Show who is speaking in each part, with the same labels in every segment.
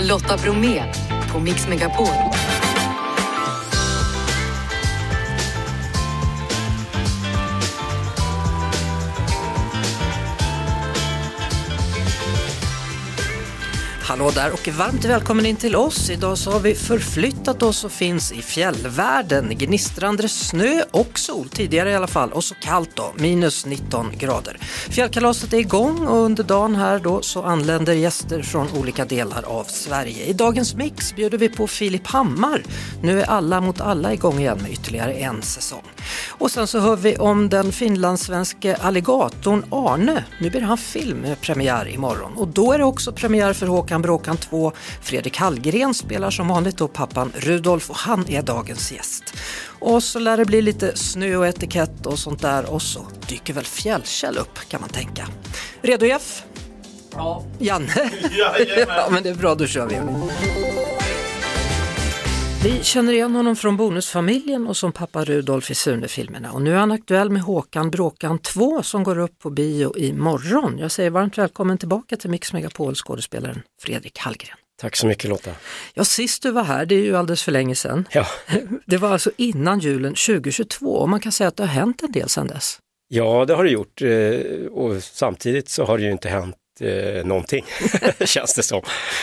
Speaker 1: Lotta Bromé på Mix Megapol.
Speaker 2: Hallå där och varmt välkommen in till oss. Idag så har vi förflyttat oss och finns i fjällvärlden. Gnistrande snö och sol, tidigare i alla fall, och så kallt då, minus 19 grader. Fjällkalaset är igång och under dagen här då så anländer gäster från olika delar av Sverige. I dagens mix bjuder vi på Filip Hammar. Nu är Alla mot alla igång igen med ytterligare en säsong. Och sen så hör vi om den finlandssvenske alligatorn Arne. Nu blir han film med premiär imorgon och då är det också premiär för Håkan Bråkan 2. Fredrik Hallgren spelar som vanligt då pappan Rudolf och han är dagens gäst. Och så lär det bli lite snö och etikett och sånt där och så dyker väl Fjällkäll upp kan man tänka. Redo Jeff?
Speaker 3: Ja.
Speaker 2: Janne? ja men det är bra, då kör vi. Vi känner igen honom från Bonusfamiljen och som pappa Rudolf i Sune-filmerna och nu är han aktuell med Håkan Bråkan 2 som går upp på bio imorgon. Jag säger varmt välkommen tillbaka till Mix Megapol skådespelaren Fredrik Hallgren.
Speaker 4: Tack så mycket Lotta.
Speaker 2: Ja, sist du var här, det är ju alldeles för länge sedan.
Speaker 4: Ja,
Speaker 2: Det var alltså innan julen 2022 och man kan säga att det har hänt en del sedan dess.
Speaker 4: ja det har det gjort eh, och samtidigt så har det ju inte hänt eh, någonting, känns det som.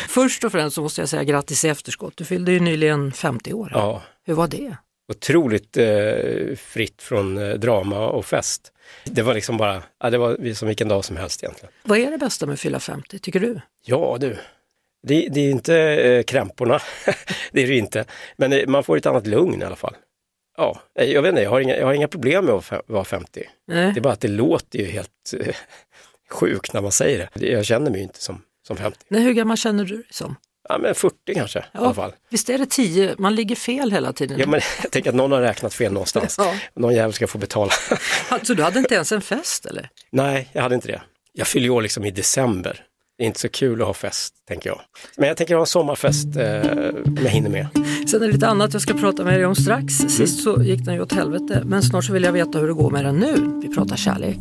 Speaker 2: Först och främst så måste jag säga grattis i efterskott. Du fyllde ju nyligen 50 år.
Speaker 4: Ja,
Speaker 2: Hur var det?
Speaker 4: otroligt eh, fritt från eh, drama och fest. Det var liksom bara, ja, det var som vilken dag som helst egentligen.
Speaker 2: Vad är det bästa med att fylla 50, tycker du?
Speaker 4: Ja du, det, det är ju inte eh, krämporna, det är det ju inte, men eh, man får ett annat lugn i alla fall. Ja, eh, jag vet inte, jag har inga, jag har inga problem med att fe- vara 50.
Speaker 2: Nej.
Speaker 4: Det är bara att det låter ju helt eh, sjukt när man säger det. Jag känner mig ju inte som, som 50.
Speaker 2: Nej, hur gammal känner du dig som?
Speaker 4: Ja, men 40 kanske i alla fall.
Speaker 2: Visst är det 10, man ligger fel hela tiden.
Speaker 4: Ja, men jag tänker att någon har räknat fel någonstans.
Speaker 2: Ja.
Speaker 4: Någon jävel ska få betala.
Speaker 2: Alltså du hade inte ens en fest eller?
Speaker 4: Nej, jag hade inte det. Jag fyller ju år liksom i december. Det är inte så kul att ha fest, tänker jag. Men jag tänker ha en sommarfest eh, om jag hinner med.
Speaker 2: Sen är det lite annat jag ska prata med dig om strax. Sist så gick den ju åt helvete, men snart så vill jag veta hur det går med den nu. Vi pratar kärlek.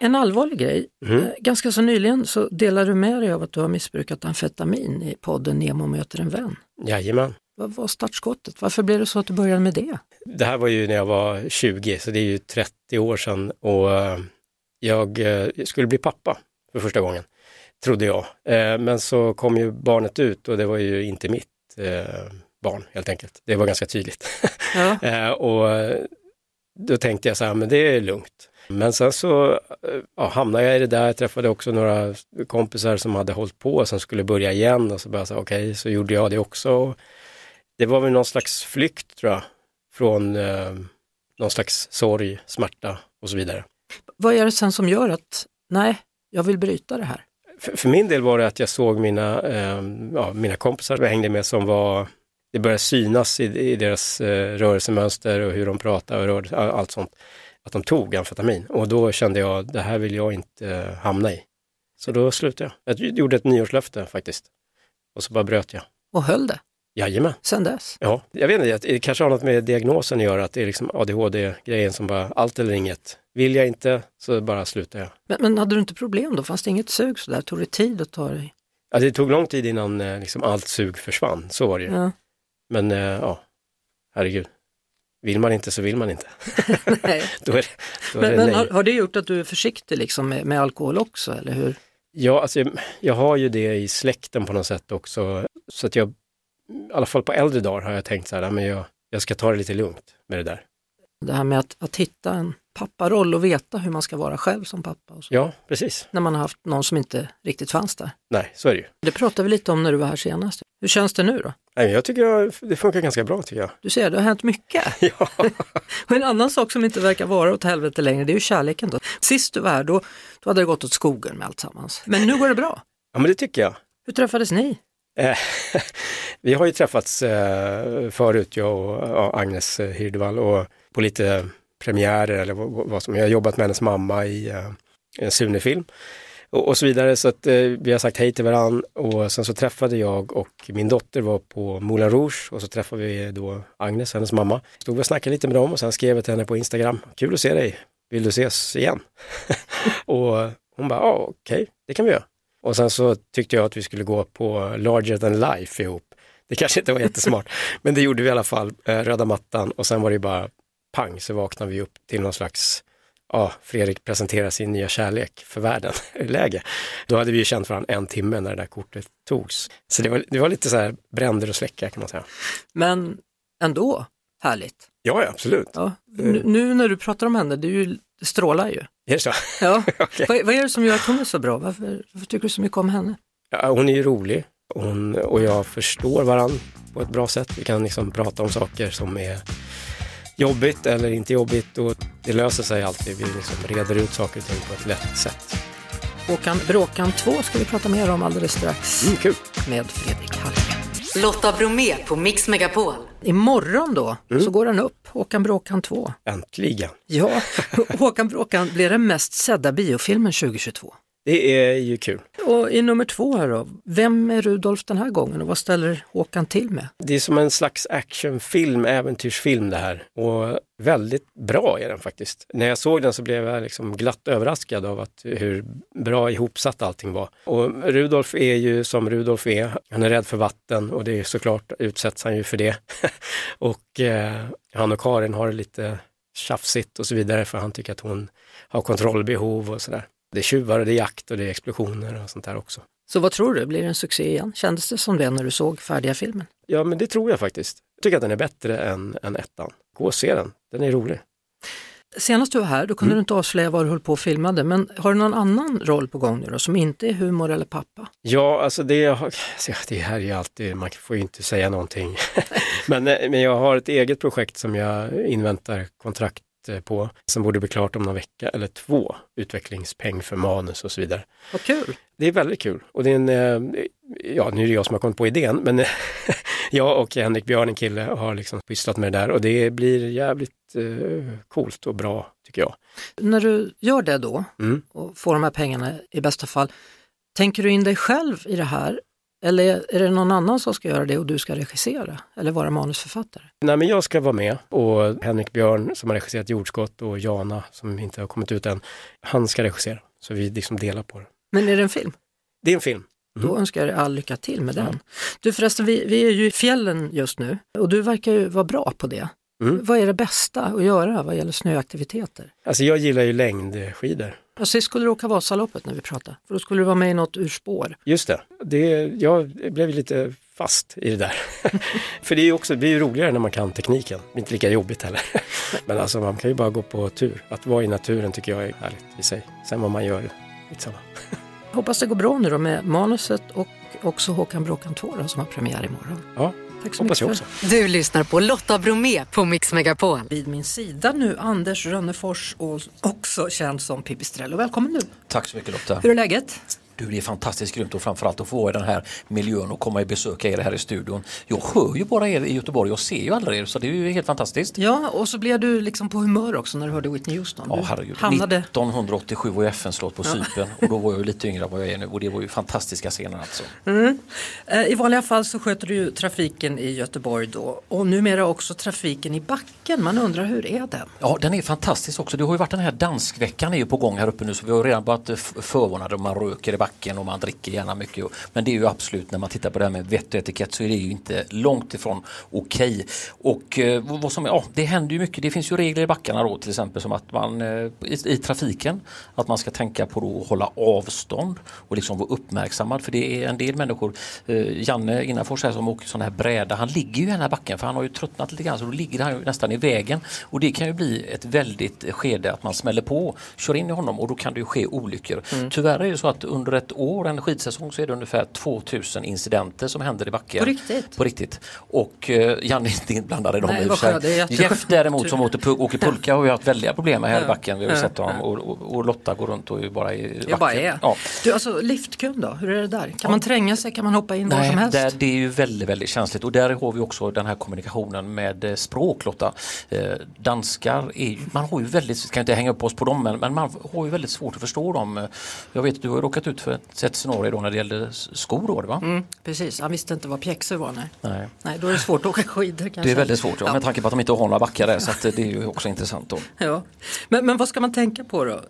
Speaker 2: En allvarlig grej.
Speaker 4: Mm.
Speaker 2: Eh, Ganska så nyligen så delade du med dig av att du har missbrukat amfetamin i podden Nemo möter en vän.
Speaker 4: Jajamän.
Speaker 2: Vad var startskottet? Varför blev det så att du började med det?
Speaker 4: Det här var ju när jag var 20, så det är ju 30 år sedan och eh, jag eh, skulle bli pappa för första gången, trodde jag. Eh, Men så kom ju barnet ut och det var ju inte mitt eh, barn helt enkelt. Det var ganska tydligt.
Speaker 2: Ja.
Speaker 4: Eh, och eh, då tänkte jag så här, men det är lugnt. Men sen så eh, ja, hamnade jag i det där, jag träffade också några kompisar som hade hållit på som skulle börja igen och så bara så här, okej, så gjorde jag det också. Det var väl någon slags flykt tror jag, från eh, någon slags sorg, smärta och så vidare.
Speaker 2: Vad är det sen som gör att, nej, jag vill bryta det här?
Speaker 4: För, för min del var det att jag såg mina, eh, ja, mina kompisar som jag hängde med som var, det började synas i, i deras eh, rörelsemönster och hur de pratade och rörde, all- allt sånt, att de tog amfetamin. Och då kände jag, det här vill jag inte eh, hamna i. Så då slutade jag. Jag gjorde ett nyårslöfte faktiskt. Och så bara bröt jag.
Speaker 2: Och höll det
Speaker 4: Jajamän.
Speaker 2: sen dess?
Speaker 4: Ja, jag vet inte, jag- det kanske har något med diagnosen att göra, att det är liksom ADHD-grejen som bara, allt eller inget. Vill jag inte så bara slutar jag.
Speaker 2: Men, men hade du inte problem då? Fanns det inget sug sådär? Tog det tid att ta dig?
Speaker 4: Alltså det tog lång tid innan eh, liksom allt sug försvann, så var det ju.
Speaker 2: Ja.
Speaker 4: Men eh, ja, herregud. Vill man inte så vill man inte.
Speaker 2: Nej.
Speaker 4: Då är det, då är
Speaker 2: Men,
Speaker 4: det
Speaker 2: men
Speaker 4: nej.
Speaker 2: har, har det gjort att du är försiktig liksom med, med alkohol också, eller hur?
Speaker 4: Ja, alltså, jag- jag har ju det i släkten på något sätt också. Så att jag, i alla fall på äldre dagar har jag tänkt så här, "Nej, men jag, jag ska ta det lite lugnt med det där.
Speaker 2: Det här med att, att hitta en papparoll och veta hur man ska vara själv som pappa. Och så.
Speaker 4: Ja, precis.
Speaker 2: När man har haft någon som inte riktigt fanns där.
Speaker 4: Nej, så är det ju.
Speaker 2: Det pratade vi lite om när du var här senast. Hur känns det nu då?
Speaker 4: Nej, men jag tycker jag, det funkar ganska bra tycker jag.
Speaker 2: Du ser, det har hänt mycket.
Speaker 4: Ja,
Speaker 2: Och en annan sak som inte verkar vara åt helvete längre, det är ju kärleken då. Sist du var här, då, då hade det gått åt skogen med allt sammans. Men nu går det bra.
Speaker 4: ja men det tycker jag.
Speaker 2: Hur träffades ni?
Speaker 4: Eh, Vi har ju träffats eh, förut, jag och ja, Agnes eh, Hirdevall, och på lite premiärer eller vad- vad som, jag har jobbat med hennes mamma i eh, en Sune-film och, och så vidare. Så att eh, vi har sagt hej till varandra och sen så träffade jag och min dotter var på Moulin Rouge och så träffade vi då Agnes, hennes mamma. Stod och snackade lite med dem och sen skrev jag till henne på Instagram, kul att se dig, vill du ses igen? och hon bara, ja okej, det kan vi göra. Och sen så tyckte jag att vi skulle gå på Larger than Life ihop. Det kanske inte var jättesmart, men det gjorde vi i alla fall, eh, röda mattan och sen var det bara pang så vaknade vi upp till någon slags, ja, Fredrik presenterar sin nya kärlek för världen, läge. Då hade vi ju känt varandra en timme när det där kortet togs. Så det var, det var lite så här bränder och släcka kan man säga.
Speaker 2: Men ändå, härligt.
Speaker 4: Ja, ja, absolut.
Speaker 2: Ja. Nu, nu när du pratar om henne, det, är ju, det strålar ju.
Speaker 4: Är det så?
Speaker 2: Ja.
Speaker 4: Okej.
Speaker 2: Vad, vad är det som gör att hon är så bra? Varför, varför tycker du så mycket om henne?
Speaker 4: Ja, hon är ju rolig hon, och jag förstår varandra på ett bra sätt. Vi kan liksom prata om saker som är jobbigt eller inte jobbigt och det löser sig alltid. Vi liksom reder ut saker och ting på ett lätt sätt.
Speaker 2: Håkan Bråkan 2 ska vi prata mer om alldeles strax
Speaker 4: Mm, kul!
Speaker 2: med Fredrik Hallgren.
Speaker 1: Lotta Bromé på Mix Megapol.
Speaker 2: Imorgon då så går den upp, Håkan Bråkan 2.
Speaker 4: Äntligen!
Speaker 2: Ja, Håkan Bråkan blir den mest sedda biofilmen 2022.
Speaker 4: Det är ju kul.
Speaker 2: Och i nummer två här då, vem är Rudolf den här gången och vad ställer Håkan till med?
Speaker 4: Det är som en slags actionfilm, äventyrsfilm det här. Och väldigt bra är den faktiskt. När jag såg den så blev jag liksom glatt överraskad av att hur bra ihopsatt allting var. Och Rudolf är ju som Rudolf är. Han är rädd för vatten och det är såklart utsätts han ju för det. och eh, han och Karin har det lite tjafsigt och så vidare för han tycker att hon har kontrollbehov och sådär. Det är tjuvar och det är jakt och det är explosioner och sånt där också.
Speaker 2: Så vad tror du, blir det en succé igen? Kändes det som det när du såg färdiga filmen?
Speaker 4: Ja, men det tror jag faktiskt. Jag tycker att den är bättre än, än ettan. Gå och se den, den är rolig.
Speaker 2: Senast du var här, då kunde du inte avslöja vad du höll på och filmade, men har du någon annan roll på gång nu då, som inte är humor eller pappa?
Speaker 4: Ja, alltså det, alltså det här är ju alltid, man får ju inte säga någonting. men, eh, men jag har ett eget projekt som jag inväntar kontrakt eh, på, som borde bli klart om någon vecka eller två. Utvecklingspeng för manus och så vidare.
Speaker 2: Vad kul!
Speaker 4: Det är väldigt kul och det är en, eh, ja nu är det jag som har kommit på idén, men jag och Henrik Björn, en kille, har liksom pysslat med det där och det blir jävligt eh, coolt och bra tycker jag.
Speaker 2: När du gör det då
Speaker 4: Mm.
Speaker 2: och får de här pengarna i bästa fall, tänker du in dig själv i det här? Eller är det någon annan som ska göra det och du ska regissera eller vara manusförfattare?
Speaker 4: Nej, men jag ska vara med och Henrik Björn som har regisserat Jordskott och Jana som inte har kommit ut än, han ska regissera. Så vi liksom delar på det.
Speaker 2: Men är det en film?
Speaker 4: Det är en film.
Speaker 2: Då önskar jag dig all lycka till med den. Du förresten, vi, vi är ju i fjällen just nu och du verkar ju vara bra på det.
Speaker 4: Mm.
Speaker 2: Vad är det bästa att göra vad gäller snöaktiviteter?
Speaker 4: Alltså jag gillar ju längdskidor.
Speaker 2: Ja, sist skulle du åka Vasaloppet när vi pratade, för då skulle du vara med i något urspår.
Speaker 4: Just det, det jag blev lite fast i det där. För det är ju också, det blir ju roligare när man kan tekniken. Det är inte lika jobbigt heller. Men alltså man kan ju bara gå på tur. Att vara i naturen tycker jag är härligt i sig. Sen vad man gör, skitsamma.
Speaker 2: Hoppas det går bra nu då med manuset och också Håkan Bråkan 2 då, som har premiär imorgon.
Speaker 4: Ja,
Speaker 2: Tack så
Speaker 4: hoppas jag
Speaker 2: mycket
Speaker 4: också.
Speaker 2: för
Speaker 1: Du lyssnar på Lotta Bromé på Mix Megapol.
Speaker 2: Vid min sida nu Anders Rönnefors, och också känd som Pipistrello. Välkommen nu!
Speaker 3: Tack så mycket Lotta.
Speaker 2: Hur är läget?
Speaker 3: Du, det är fantastiskt grymt och framförallt att få vara i den här miljön och komma och besöka er här i studion. Jag hör ju bara er i Göteborg, jag ser ju aldrig er så det är ju helt fantastiskt.
Speaker 2: Ja, och så blev du liksom på humör också när du hörde Whitney Houston.
Speaker 3: Ja,
Speaker 2: Du
Speaker 3: herregud.
Speaker 2: hamnade...
Speaker 3: 1987 var jag FN-slott på Cypern och då var jag ju lite yngre än vad jag är nu och det var ju fantastiska scener alltså.
Speaker 2: Eh, I vanliga fall så sköter du ju trafiken i Göteborg då och numera också trafiken i backen. Man undrar hur är den?
Speaker 3: Ja, den är fantastisk också. Det har ju varit den här danskveckan är ju på gång här uppe nu så vi har redan börjat eh, f- förvarna dem. man röker i backen och man dricker gärna mycket. Och- Men det är ju absolut, när man tittar på det här med vett och etikett så är det ju inte långt ifrån okej. Och eh, vad vad som, ja, det händer ju mycket. Det finns ju regler i backarna då till exempel som att man eh, i, i trafiken, att man ska tänka på då att hålla avstånd och liksom vara uppmärksammad för det är en del människor, eh, Janne Innafors här som åker sån här bräda, han ligger ju i den här backen för han har ju tröttnat lite grann så då ligger han ju nästan i vägen och det kan ju bli ett väldigt skede att man smäller på, kör in i honom och då kan det ju ske olyckor.
Speaker 2: Mm.
Speaker 3: Tyvärr är det så att under ett år, en skidsäsong, så är det ungefär 2000 incidenter som händer i backen.
Speaker 2: På riktigt?
Speaker 3: På riktigt. Och eh, Janne är inte inblandad i dem
Speaker 2: Nej,
Speaker 3: i och
Speaker 2: vad
Speaker 3: för sig.
Speaker 2: skönt. Det är jätteskönt.
Speaker 3: Jeff däremot som åker, pu- åker pulka har ju haft väldiga problem med här i backen. Vi har ju sett honom och, och, och Lotta går runt och är bara i backen.
Speaker 2: Jag bara är.
Speaker 3: Ja.
Speaker 2: Du, alltså liftkön då, hur är det där? Kan man tränga sig? Kan man hoppa in var
Speaker 3: Nej,
Speaker 2: som helst?
Speaker 3: Där, det är ju väldigt, väldigt känsligt och där har vi också den här kommunikationen med eh, språk Lotta. Eh, danskar, är, ju- man har ju väldigt, ska inte hänga upp oss på dem, men, men man har ju väldigt svårt att förstå dem. Eh, Jag vet att du har ju råkat ut för för ett, ett scenario då när det gällde skor då, va?
Speaker 2: Mm, precis, han visste inte vad pjäxor var. Nej.
Speaker 3: Nej.
Speaker 2: nej, då är det svårt att åka skidor kanske.
Speaker 3: Det är väldigt svårt, ja, med tanke på att de inte har några backar där så att eh, det är ju också intressant. Då.
Speaker 2: Ja. Men, men vad ska man tänka på då? Eh,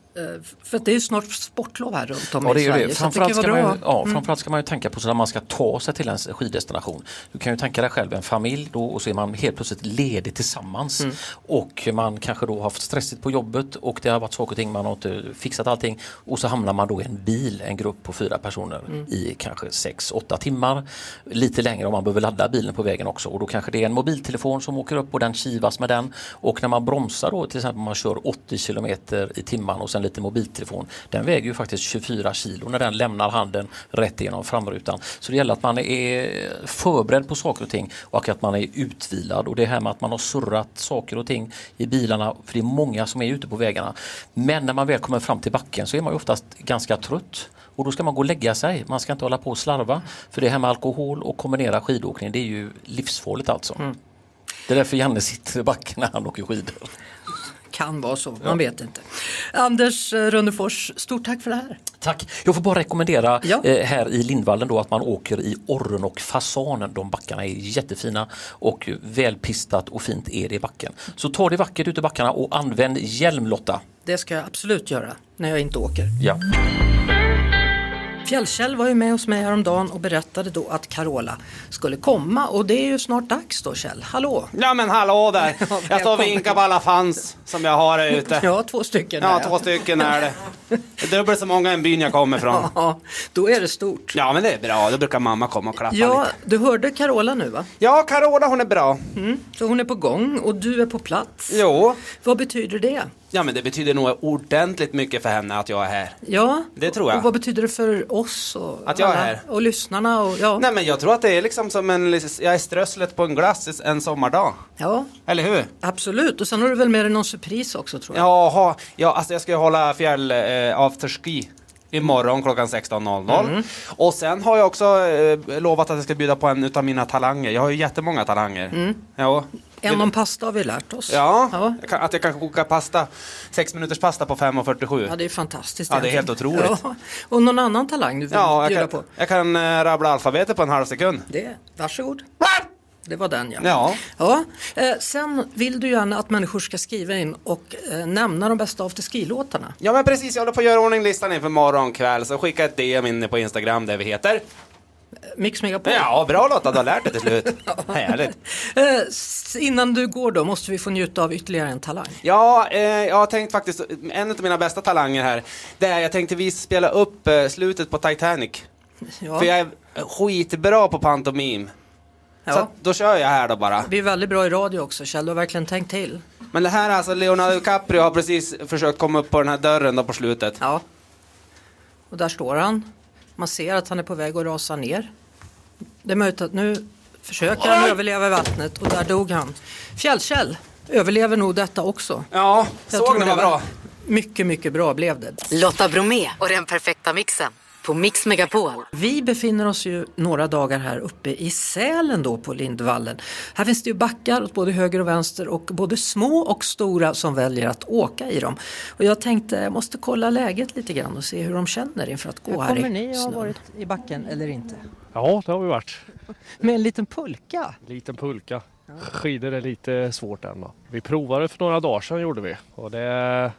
Speaker 2: För att det är ju snart sportlov här runt om
Speaker 3: Ja, det
Speaker 2: i
Speaker 3: är
Speaker 2: Sverige.
Speaker 3: ju det.
Speaker 2: så jag tycker
Speaker 3: Framförallt ska, man
Speaker 2: det
Speaker 3: ju,
Speaker 2: var bra. Mm.
Speaker 3: ja, framförallt ska man ju tänka på så när man ska ta sig till en skiddestination. Du kan ju tänka dig själv en familj då och så är man helt plötsligt ledig tillsammans.
Speaker 2: Mm.
Speaker 3: Och man kanske då har haft stressigt på jobbet och det har varit saker och ting, man har inte fixat allting. Och så hamnar man då i en bil, en grupp på fyra personer
Speaker 2: Mm.
Speaker 3: i kanske 6-8 timmar. Lite längre om man behöver ladda bilen på vägen också. Och då kanske det är en mobiltelefon som åker upp och den kivas med den. Och när man bromsar då, till exempel man kör 80 kilometer i timmen och sen lite mobiltelefon. Den väger ju faktiskt 24 kilo när den lämnar handen rätt igenom framrutan. Så det gäller att man är förberedd på saker och ting och att man är utvilad. Och det här med att man har surrat saker och ting i bilarna, för det är många som är ute på vägarna. Men när man väl kommer fram till backen så är man ju oftast ganska trött. Och då ska man gå och lägga sig, man ska inte hålla på och slarva. För det här med alkohol och kombinera skidåkning, det är ju livsfarligt alltså. Det är därför Janne sitter i backen när han åker skidor.
Speaker 2: Kan vara så, man vet inte. Anders eh, Rönnefors, stort tack för det här.
Speaker 3: Tack! Jag får bara rekommendera
Speaker 2: Ja.
Speaker 3: eh, här i Lindvallen då att man åker i orren och fasanen. De backarna är jättefina och välpistat och fint är det i backen. Så ta det vackert ute i backarna och använd hjälm Lotta.
Speaker 2: Det ska jag absolut göra när jag inte åker.
Speaker 3: Ja.
Speaker 2: Fjällkäll var ju med hos mig häromdagen och berättade då att Carola skulle komma och det är ju snart dags då Kjell. Hallå!
Speaker 5: Ja men hallå där! Jag står och
Speaker 2: välkommen.
Speaker 5: vinkar på alla fans som jag har här ute.
Speaker 2: Ja, två stycken.
Speaker 5: Ja,
Speaker 2: där,
Speaker 5: två stycken är det. Det är dubbelt så många i den byn jag kommer ifrån.
Speaker 2: Ja, då är det stort.
Speaker 5: Ja men det är bra, då brukar mamma komma och klappa
Speaker 2: Ja,
Speaker 5: lite.
Speaker 2: du hörde Carola nu va?
Speaker 5: Ja, Carola hon är bra.
Speaker 2: Mm. Så hon är på gång och du är på plats.
Speaker 5: Jo.
Speaker 2: Vad betyder det?
Speaker 5: Ja men det betyder nog ordentligt mycket för henne att jag är här.
Speaker 2: Ja,
Speaker 5: Det tror jag.
Speaker 2: Och vad betyder det för oss och,
Speaker 5: Att jag är
Speaker 2: alla-
Speaker 5: här.
Speaker 2: och lyssnarna? Och, ja.
Speaker 5: Nej men jag tror att det är liksom som en, jag är strösslet på en glass en sommardag.
Speaker 2: ja,
Speaker 5: Eller hur?
Speaker 2: absolut. Och sen har du väl med dig någon surpris också tror jag?
Speaker 5: Jaha, ja, alltså jag ska ju hålla fjäll eh, afterski imorgon klockan 16.00.
Speaker 2: Mm.
Speaker 5: Och sen har jag också eh, lovat att jag ska bjuda på en utav mina talanger. Jag har ju jättemånga talanger. Ja.
Speaker 2: Mm. En om pasta har vi lärt oss.
Speaker 5: Ja,
Speaker 2: ja.
Speaker 5: jag kan- att jag kan koka pasta, sex minuters pasta på 5.47.
Speaker 2: Ja, det är fantastiskt.
Speaker 5: Ja, det är
Speaker 2: egentligen.
Speaker 5: helt otroligt.
Speaker 2: Ja. Och någon annan talang du vill
Speaker 5: Ja,
Speaker 2: bjuda
Speaker 5: jag
Speaker 2: på?
Speaker 5: kan, jag kan eh, rabbla alfabetet på en halv sekund.
Speaker 2: Det, varsågod. Det var den ja.
Speaker 5: Ja.
Speaker 2: ja. Eh, sen vill du gärna att människor ska skriva in och eh, nämna de bästa afterski-låtarna.
Speaker 5: Ja men precis, jag håller på att göra ordning listan inför morgon kväll, så skicka ett DM inne på Instagram där vi heter.
Speaker 2: Eh, Mix Megapol.
Speaker 5: Ja, bra Lotta, du har lärt dig till slut. Härligt.
Speaker 2: Eh, s- innan du går då måste vi få njuta av ytterligare en talang.
Speaker 5: Ja, eh, jag har tänkt faktiskt, en av mina bästa talanger här, det är jag tänkte vi spela upp eh, slutet på Titanic.
Speaker 2: Ja.
Speaker 5: För jag är skitbra på pantomim. Så
Speaker 2: ja.
Speaker 5: att, då kör jag här då bara.
Speaker 2: Vi är väldigt bra i radio också Kjell, du har verkligen tänkt till.
Speaker 5: Men det här är alltså, Leonardo DiCaprio har precis försökt komma upp på den här dörren då på slutet.
Speaker 2: Ja. Och där står han. Man ser att han är på väg att rasa ner. Det är möjligt att nu försöker han överleva i vattnet och där dog han. Fjällkäll överlever nog detta också.
Speaker 5: Ja, såg ni vad bra?
Speaker 2: Mycket, mycket bra blev det.
Speaker 1: Lotta Bromé och den perfekta mixen på Mix Megapol.
Speaker 2: Vi befinner oss ju några dagar här uppe i Sälen då på Lindvallen. Här finns det ju backar åt både höger och vänster och både små och stora som väljer att åka i dem. Och jag tänkte jag måste kolla läget lite grann och se hur de känner inför att gå här i
Speaker 6: kommer ni ha
Speaker 2: snön.
Speaker 6: varit i backen eller inte?
Speaker 7: Ja, det har vi varit.
Speaker 6: Med en liten pulka?
Speaker 7: Liten pulka. Skidor är lite svårt än då. Vi provade för några dagar sedan gjorde vi och det,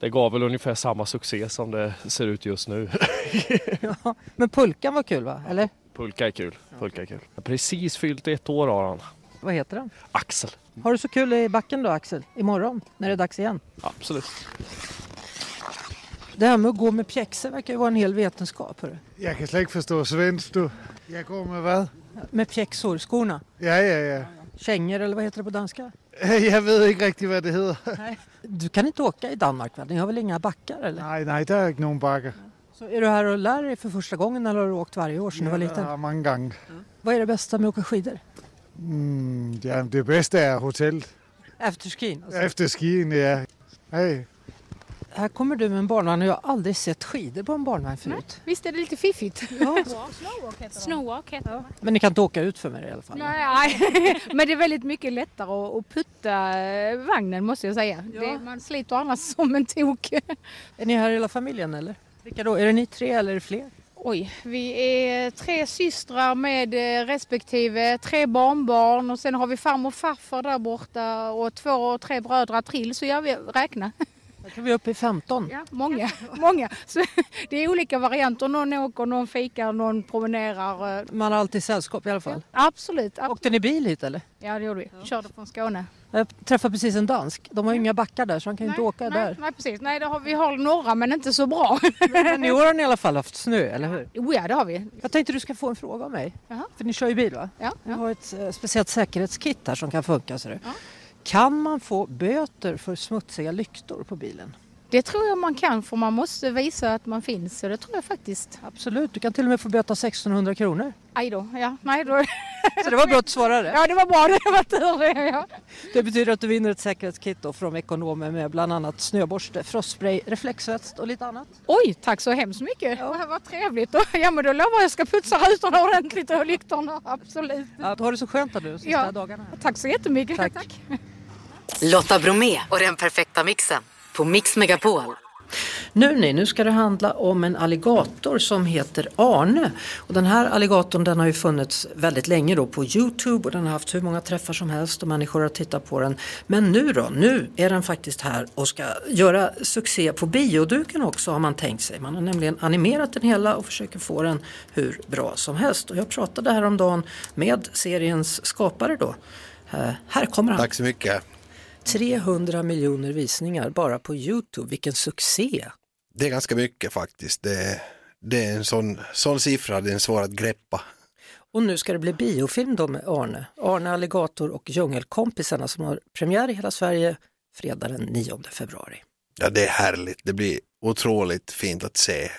Speaker 7: det gav väl ungefär samma succé som det ser ut just nu.
Speaker 6: Men pulkan var kul va? Eller
Speaker 7: Pulka är kul. Pulka är kul. Precis fyllt ett år har han.
Speaker 6: vad heter den?
Speaker 7: Axel.
Speaker 6: Har du så kul i backen då Axel? Imorgon när det är dags igen?
Speaker 7: Absolut.
Speaker 6: Det här med att gå med pjäxor verkar ju vara en hel vetenskap. Hörru.
Speaker 8: Jeg kan slet ikke forstå svensk, du. Jeg går med hvad?
Speaker 6: Med pjäxor, skorna.
Speaker 8: Ja, ja, ja.
Speaker 6: Kängor eller vad heter det på danska?
Speaker 8: Jeg ved ikke rigtig, hvad det hedder.
Speaker 6: Nej. Du kan inte åka i Danmark va? Ni har väl inga backar eller?
Speaker 8: Nej, nej, der er ikke nogen bakker.
Speaker 6: Så är du här och lär dig för första gången eller har du åkt varje år sedan du var
Speaker 8: Ja,
Speaker 6: liten?
Speaker 8: der er mange gange.
Speaker 6: Vad är det bästa med att åka skidor?
Speaker 8: Mm, jamen, det bedste er hotellet.
Speaker 6: Afterskin. Alltså.
Speaker 9: Eh.
Speaker 8: Efter skien, ja. Hey.
Speaker 6: Här kommer du med en barnvagn och jag har aldrig sett skidor på en barnvagn förut.
Speaker 9: Visst är det lite fiffigt?
Speaker 6: Ja.
Speaker 9: Snowwalk heter det.
Speaker 6: Men ni kan inte åka ut för mig i alla fall.
Speaker 9: Nej, nej. men det är väldigt mycket lättare att- att putta eh, vagnen måste jag säga. Det, man sliter annars som en tok.
Speaker 6: Är ni här hela familjen eller?
Speaker 10: Vilka då? Är det ni tre eller är det fler?
Speaker 9: Oj, vi är tre systrar med eh, respektive tre barnbarn och sen har vi farmor och farfar där borta och två och tre bröder till så jag vill räkna.
Speaker 10: Jag tror vi är uppe i 15.
Speaker 9: Ja, många, många. Så det är olika varianter. Någon åker, någon fikar, någon promenerar. eh.
Speaker 10: Man har alltid sällskap i alla fall.
Speaker 9: Absolut. ab-
Speaker 10: Åkte ni bil hit eller?
Speaker 9: Ja, det gjorde vi. Körde från Skåne.
Speaker 10: Jag träffade precis en dansk. De har ju inga backar där så de kan ju inte åka
Speaker 9: nej,
Speaker 10: där.
Speaker 9: Nej, precis. Nej, det har, vi har några men inte så bra.
Speaker 10: Men i år har ni i alla fall haft snö, eller hur?
Speaker 9: Jo, ja, det har vi.
Speaker 10: Jag tänkte du ska få en fråga av mig.
Speaker 9: Jaha.
Speaker 10: För ni kör ju bil va?
Speaker 9: Ja,
Speaker 10: Vi
Speaker 9: ja.
Speaker 10: har ett eh, speciellt säkerhetskit här som kan funka. Ser du.
Speaker 9: Ja.
Speaker 10: Kan man få böter för smutsiga lyktor på bilen?
Speaker 9: Det tror jag man kan för man måste visa att man finns. Så det tror jag faktiskt.
Speaker 10: Absolut, du kan till och med få böta 1600 kronor.
Speaker 9: Aj då. Ja, nej då.
Speaker 10: Så det var bra att svara det.
Speaker 9: Ja, det var bra. Det var tur det. Ja.
Speaker 10: Det betyder att du vinner ett säkerhetskit då från ekonomer med bland annat snöborste, frostspray, reflexväst och lite annat.
Speaker 9: Oj, tack så hemskt mycket. Ja. Vad trevligt. Ja, men då lovar jag att jag ska putsa rutorna ordentligt och lyktorna. Absolut.
Speaker 10: Ja, du har det så skönt här nu de sista
Speaker 9: Ja.
Speaker 10: dagarna. här.
Speaker 9: Tack så jättemycket.
Speaker 10: Tack.
Speaker 1: Lotta Bromé och den perfekta mixen på Mix Megapol.
Speaker 2: Nu ni, nu ska det handla om en alligator som heter Arne. Och den här alligatorn den har ju funnits väldigt länge då på Youtube och den har haft hur många träffar som helst och människor har tittat på den. Men nu då, nu är den faktiskt här och ska göra succé på bioduken också har man tänkt sig. Man har nämligen animerat den hela och försöker få den hur bra som helst. Och jag pratade häromdagen med seriens skapare då. Eh, här kommer han.
Speaker 7: Tack så mycket.
Speaker 2: 300 miljoner visningar bara på Youtube, vilken succé!
Speaker 7: Det är ganska mycket faktiskt. Det är, det är en sån, sån siffra, den är svår att greppa.
Speaker 2: Och nu ska det bli biofilm då med Arne. Arne Alligator och Djungelkompisarna som har premiär i hela Sverige fredag den 9 februari.
Speaker 7: Ja, det är härligt. Det blir otroligt fint att se.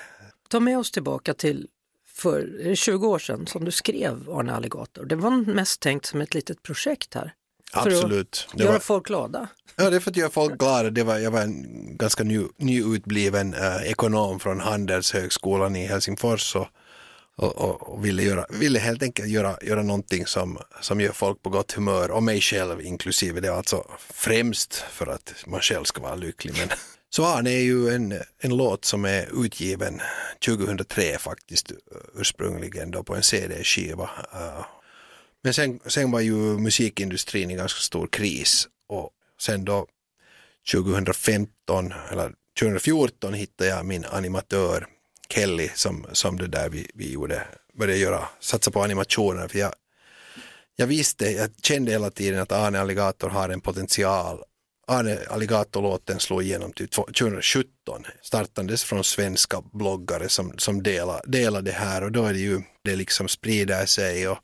Speaker 2: Ta med oss tillbaka till för är det 20 år sedan som du skrev Arne Alligator. Det var mest tänkt som ett litet projekt här. För att
Speaker 7: Absolut. Det
Speaker 2: Göra
Speaker 7: var,
Speaker 2: folk glada.
Speaker 7: ja, det är för att göra folk glada. Det var, jag var en ganska ny, nyutbliven eh, ekonom från Handelshögskolan i Helsingfors och, och, och, och ville, göra, ville helt enkelt göra, göra någonting som, som gör folk på gott humör och mig själv inklusive. Det var alltså främst för att man själv ska vara lycklig. Men... Så Arne är ju en, en låt som är utgiven 2003 faktiskt ursprungligen då på en CD-skiva. eh, men sen, sen var ju musikindustrin i ganska stor kris och sen då 2015 eller 2014 hittade jag min animatör Kelly som, som det där vi, vi gjorde, började göra, satsa på animationer för jag, jag visste, jag kände hela tiden att Arne Alligator har en potential. Arne Alligator-låten slog igenom typ 2017, startades från svenska bloggare som, som delar, delar det här och då är det ju, det liksom sprider sig och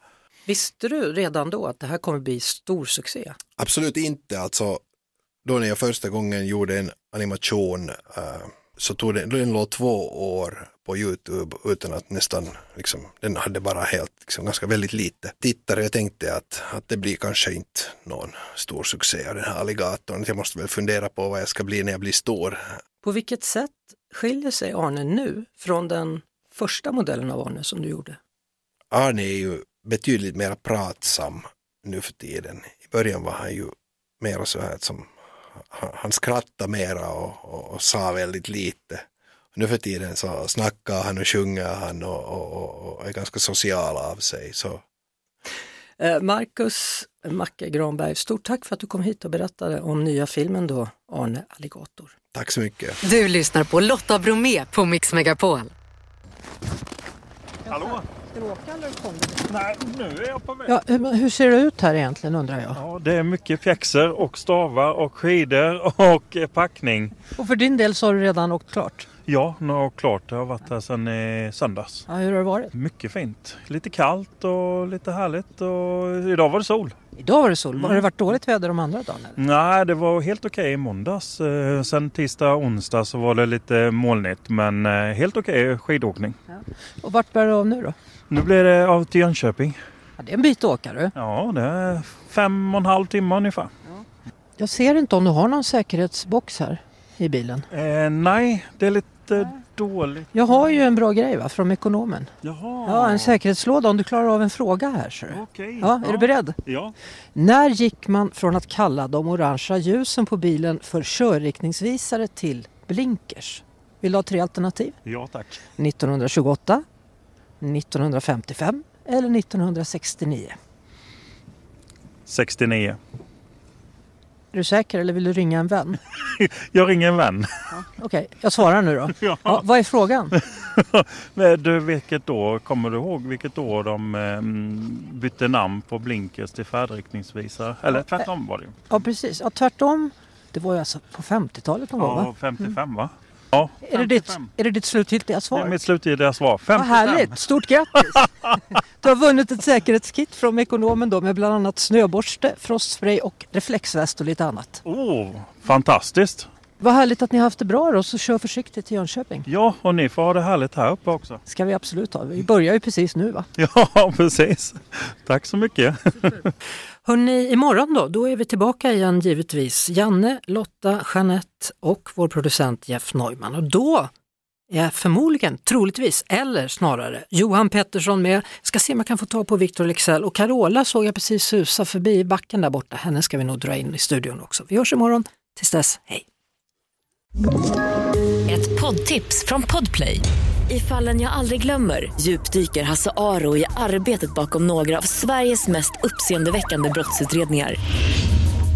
Speaker 2: Visste du redan då att det här kommer bli stor succé?
Speaker 7: Absolut inte. Alltså, då när jag första gången gjorde en animation eh, så tog det, den låg två år på Youtube utan att nästan, liksom, den hade bara helt, liksom, ganska väldigt lite tittare. Jag tänkte att, att det blir kanske inte någon stor succé av den här alligatorn. Jag måste väl fundera på vad jag ska bli när jag blir stor.
Speaker 2: På vilket sätt skiljer sig Arne nu från den första modellen av Arne som du gjorde?
Speaker 7: Arne är ju betydligt mer pratsam nu för tiden. I början var han ju mer så här som han- han skrattade mera och, och, och sa väldigt lite. Nu för tiden så snackar han och sjunger han och, och, och, och är ganska social av sig. Så
Speaker 2: Eh, Marcus Macke Granberg, stort tack för att du kom hit och berättade om nya filmen då, Arne Alligator.
Speaker 7: tack så mycket.
Speaker 1: Du lyssnar på Lotta Bromé på Mix Megapol.
Speaker 11: Nej, nu är jag på väg.
Speaker 10: Ja, hur, hur ser det ut här egentligen undrar jag?
Speaker 3: Ja, det är mycket pjäxor och stavar och skidor och eh, packning.
Speaker 10: Och för din del så har du redan åkt klart.
Speaker 3: Ja, nu har jag klart. Jag har varit här sedan i söndags.
Speaker 10: Ja, hur har det varit?
Speaker 3: Mycket fint. Lite kallt och lite härligt och idag var det sol.
Speaker 10: Idag var det sol. Har det varit dåligt väder de andra dagarna?
Speaker 3: Nej, det var helt okej i måndags. Eh, Sen tisdag och onsdag så var det lite molnigt men eh, helt okej skidåkning.
Speaker 10: Och vart bär du av nu då?
Speaker 3: Nu blir det av till Jönköping.
Speaker 10: Ja, det är en bit att åka du.
Speaker 3: Ja, det är fem och en halv timme ungefär.
Speaker 10: Jag ser inte om du har någon säkerhetsbox här i bilen.
Speaker 3: Eh, nej, det är lite dåligt.
Speaker 10: Jag har ju en bra grej va, från ekonomen.
Speaker 3: Jaha.
Speaker 10: Ja, en säkerhetslåda om du klarar av en fråga här. ser du.
Speaker 3: Okej.
Speaker 10: Ja, är du beredd?
Speaker 3: Ja.
Speaker 10: När gick man från att kalla de orangea ljusen på bilen för körriktningsvisare till blinkers?
Speaker 2: Vill du ha tre alternativ?
Speaker 3: Ja tack.
Speaker 2: 1928, 1955 eller 1969?
Speaker 3: 69.
Speaker 2: Är du säker eller vill du ringa en vän?
Speaker 3: jag ringer en vän.
Speaker 2: Ja, Okej, okay. jag svarar nu då. ja. Ja, vad är frågan?
Speaker 3: Eh, du, vilket år, kommer du ihåg vilket år de um, bytte namn på blinkers till färdriktningsvisare? Eller tvärtom var det
Speaker 2: Ja precis, ja, tvärtom. Det var ju alltså på 50-talet någon gång va?
Speaker 3: Ja, 55 mm. va?
Speaker 2: Ja, 55. är, det ditt, är det ditt slutgiltiga svar? Det
Speaker 3: är mitt slutgiltiga svar.
Speaker 2: 55. Vad härligt! Stort grattis! du har vunnit ett säkerhetskit från Ekonomen då med bland annat snöborste, frostspray och reflexväst och lite annat.
Speaker 3: Oh, fantastiskt!
Speaker 2: Vad härligt att ni har haft det bra då, så kör försiktigt till Jönköping.
Speaker 3: Ja, och ni får ha det härligt här uppe också.
Speaker 2: ska vi absolut ha. Vi börjar ju precis nu va?
Speaker 3: Ja, precis. Tack så mycket.
Speaker 12: Hörni, imorgon då, då är vi tillbaka igen givetvis. Janne, Lotta, Jeanette och vår producent Jeff Neumann. Och då är förmodligen, troligtvis, eller snarare Johan Pettersson med. Ska se om jag kan få ta på Victor Lexell och Carola såg jag precis susa förbi i backen där borta. Henne ska vi nog dra in i studion också. Vi hörs imorgon. Tills dess, hej!
Speaker 1: Ett poddtips från Podplay. I fallen jag aldrig glömmer djupdyker Hasse Aro i arbetet bakom några av Sveriges mest uppseendeväckande brottsutredningar.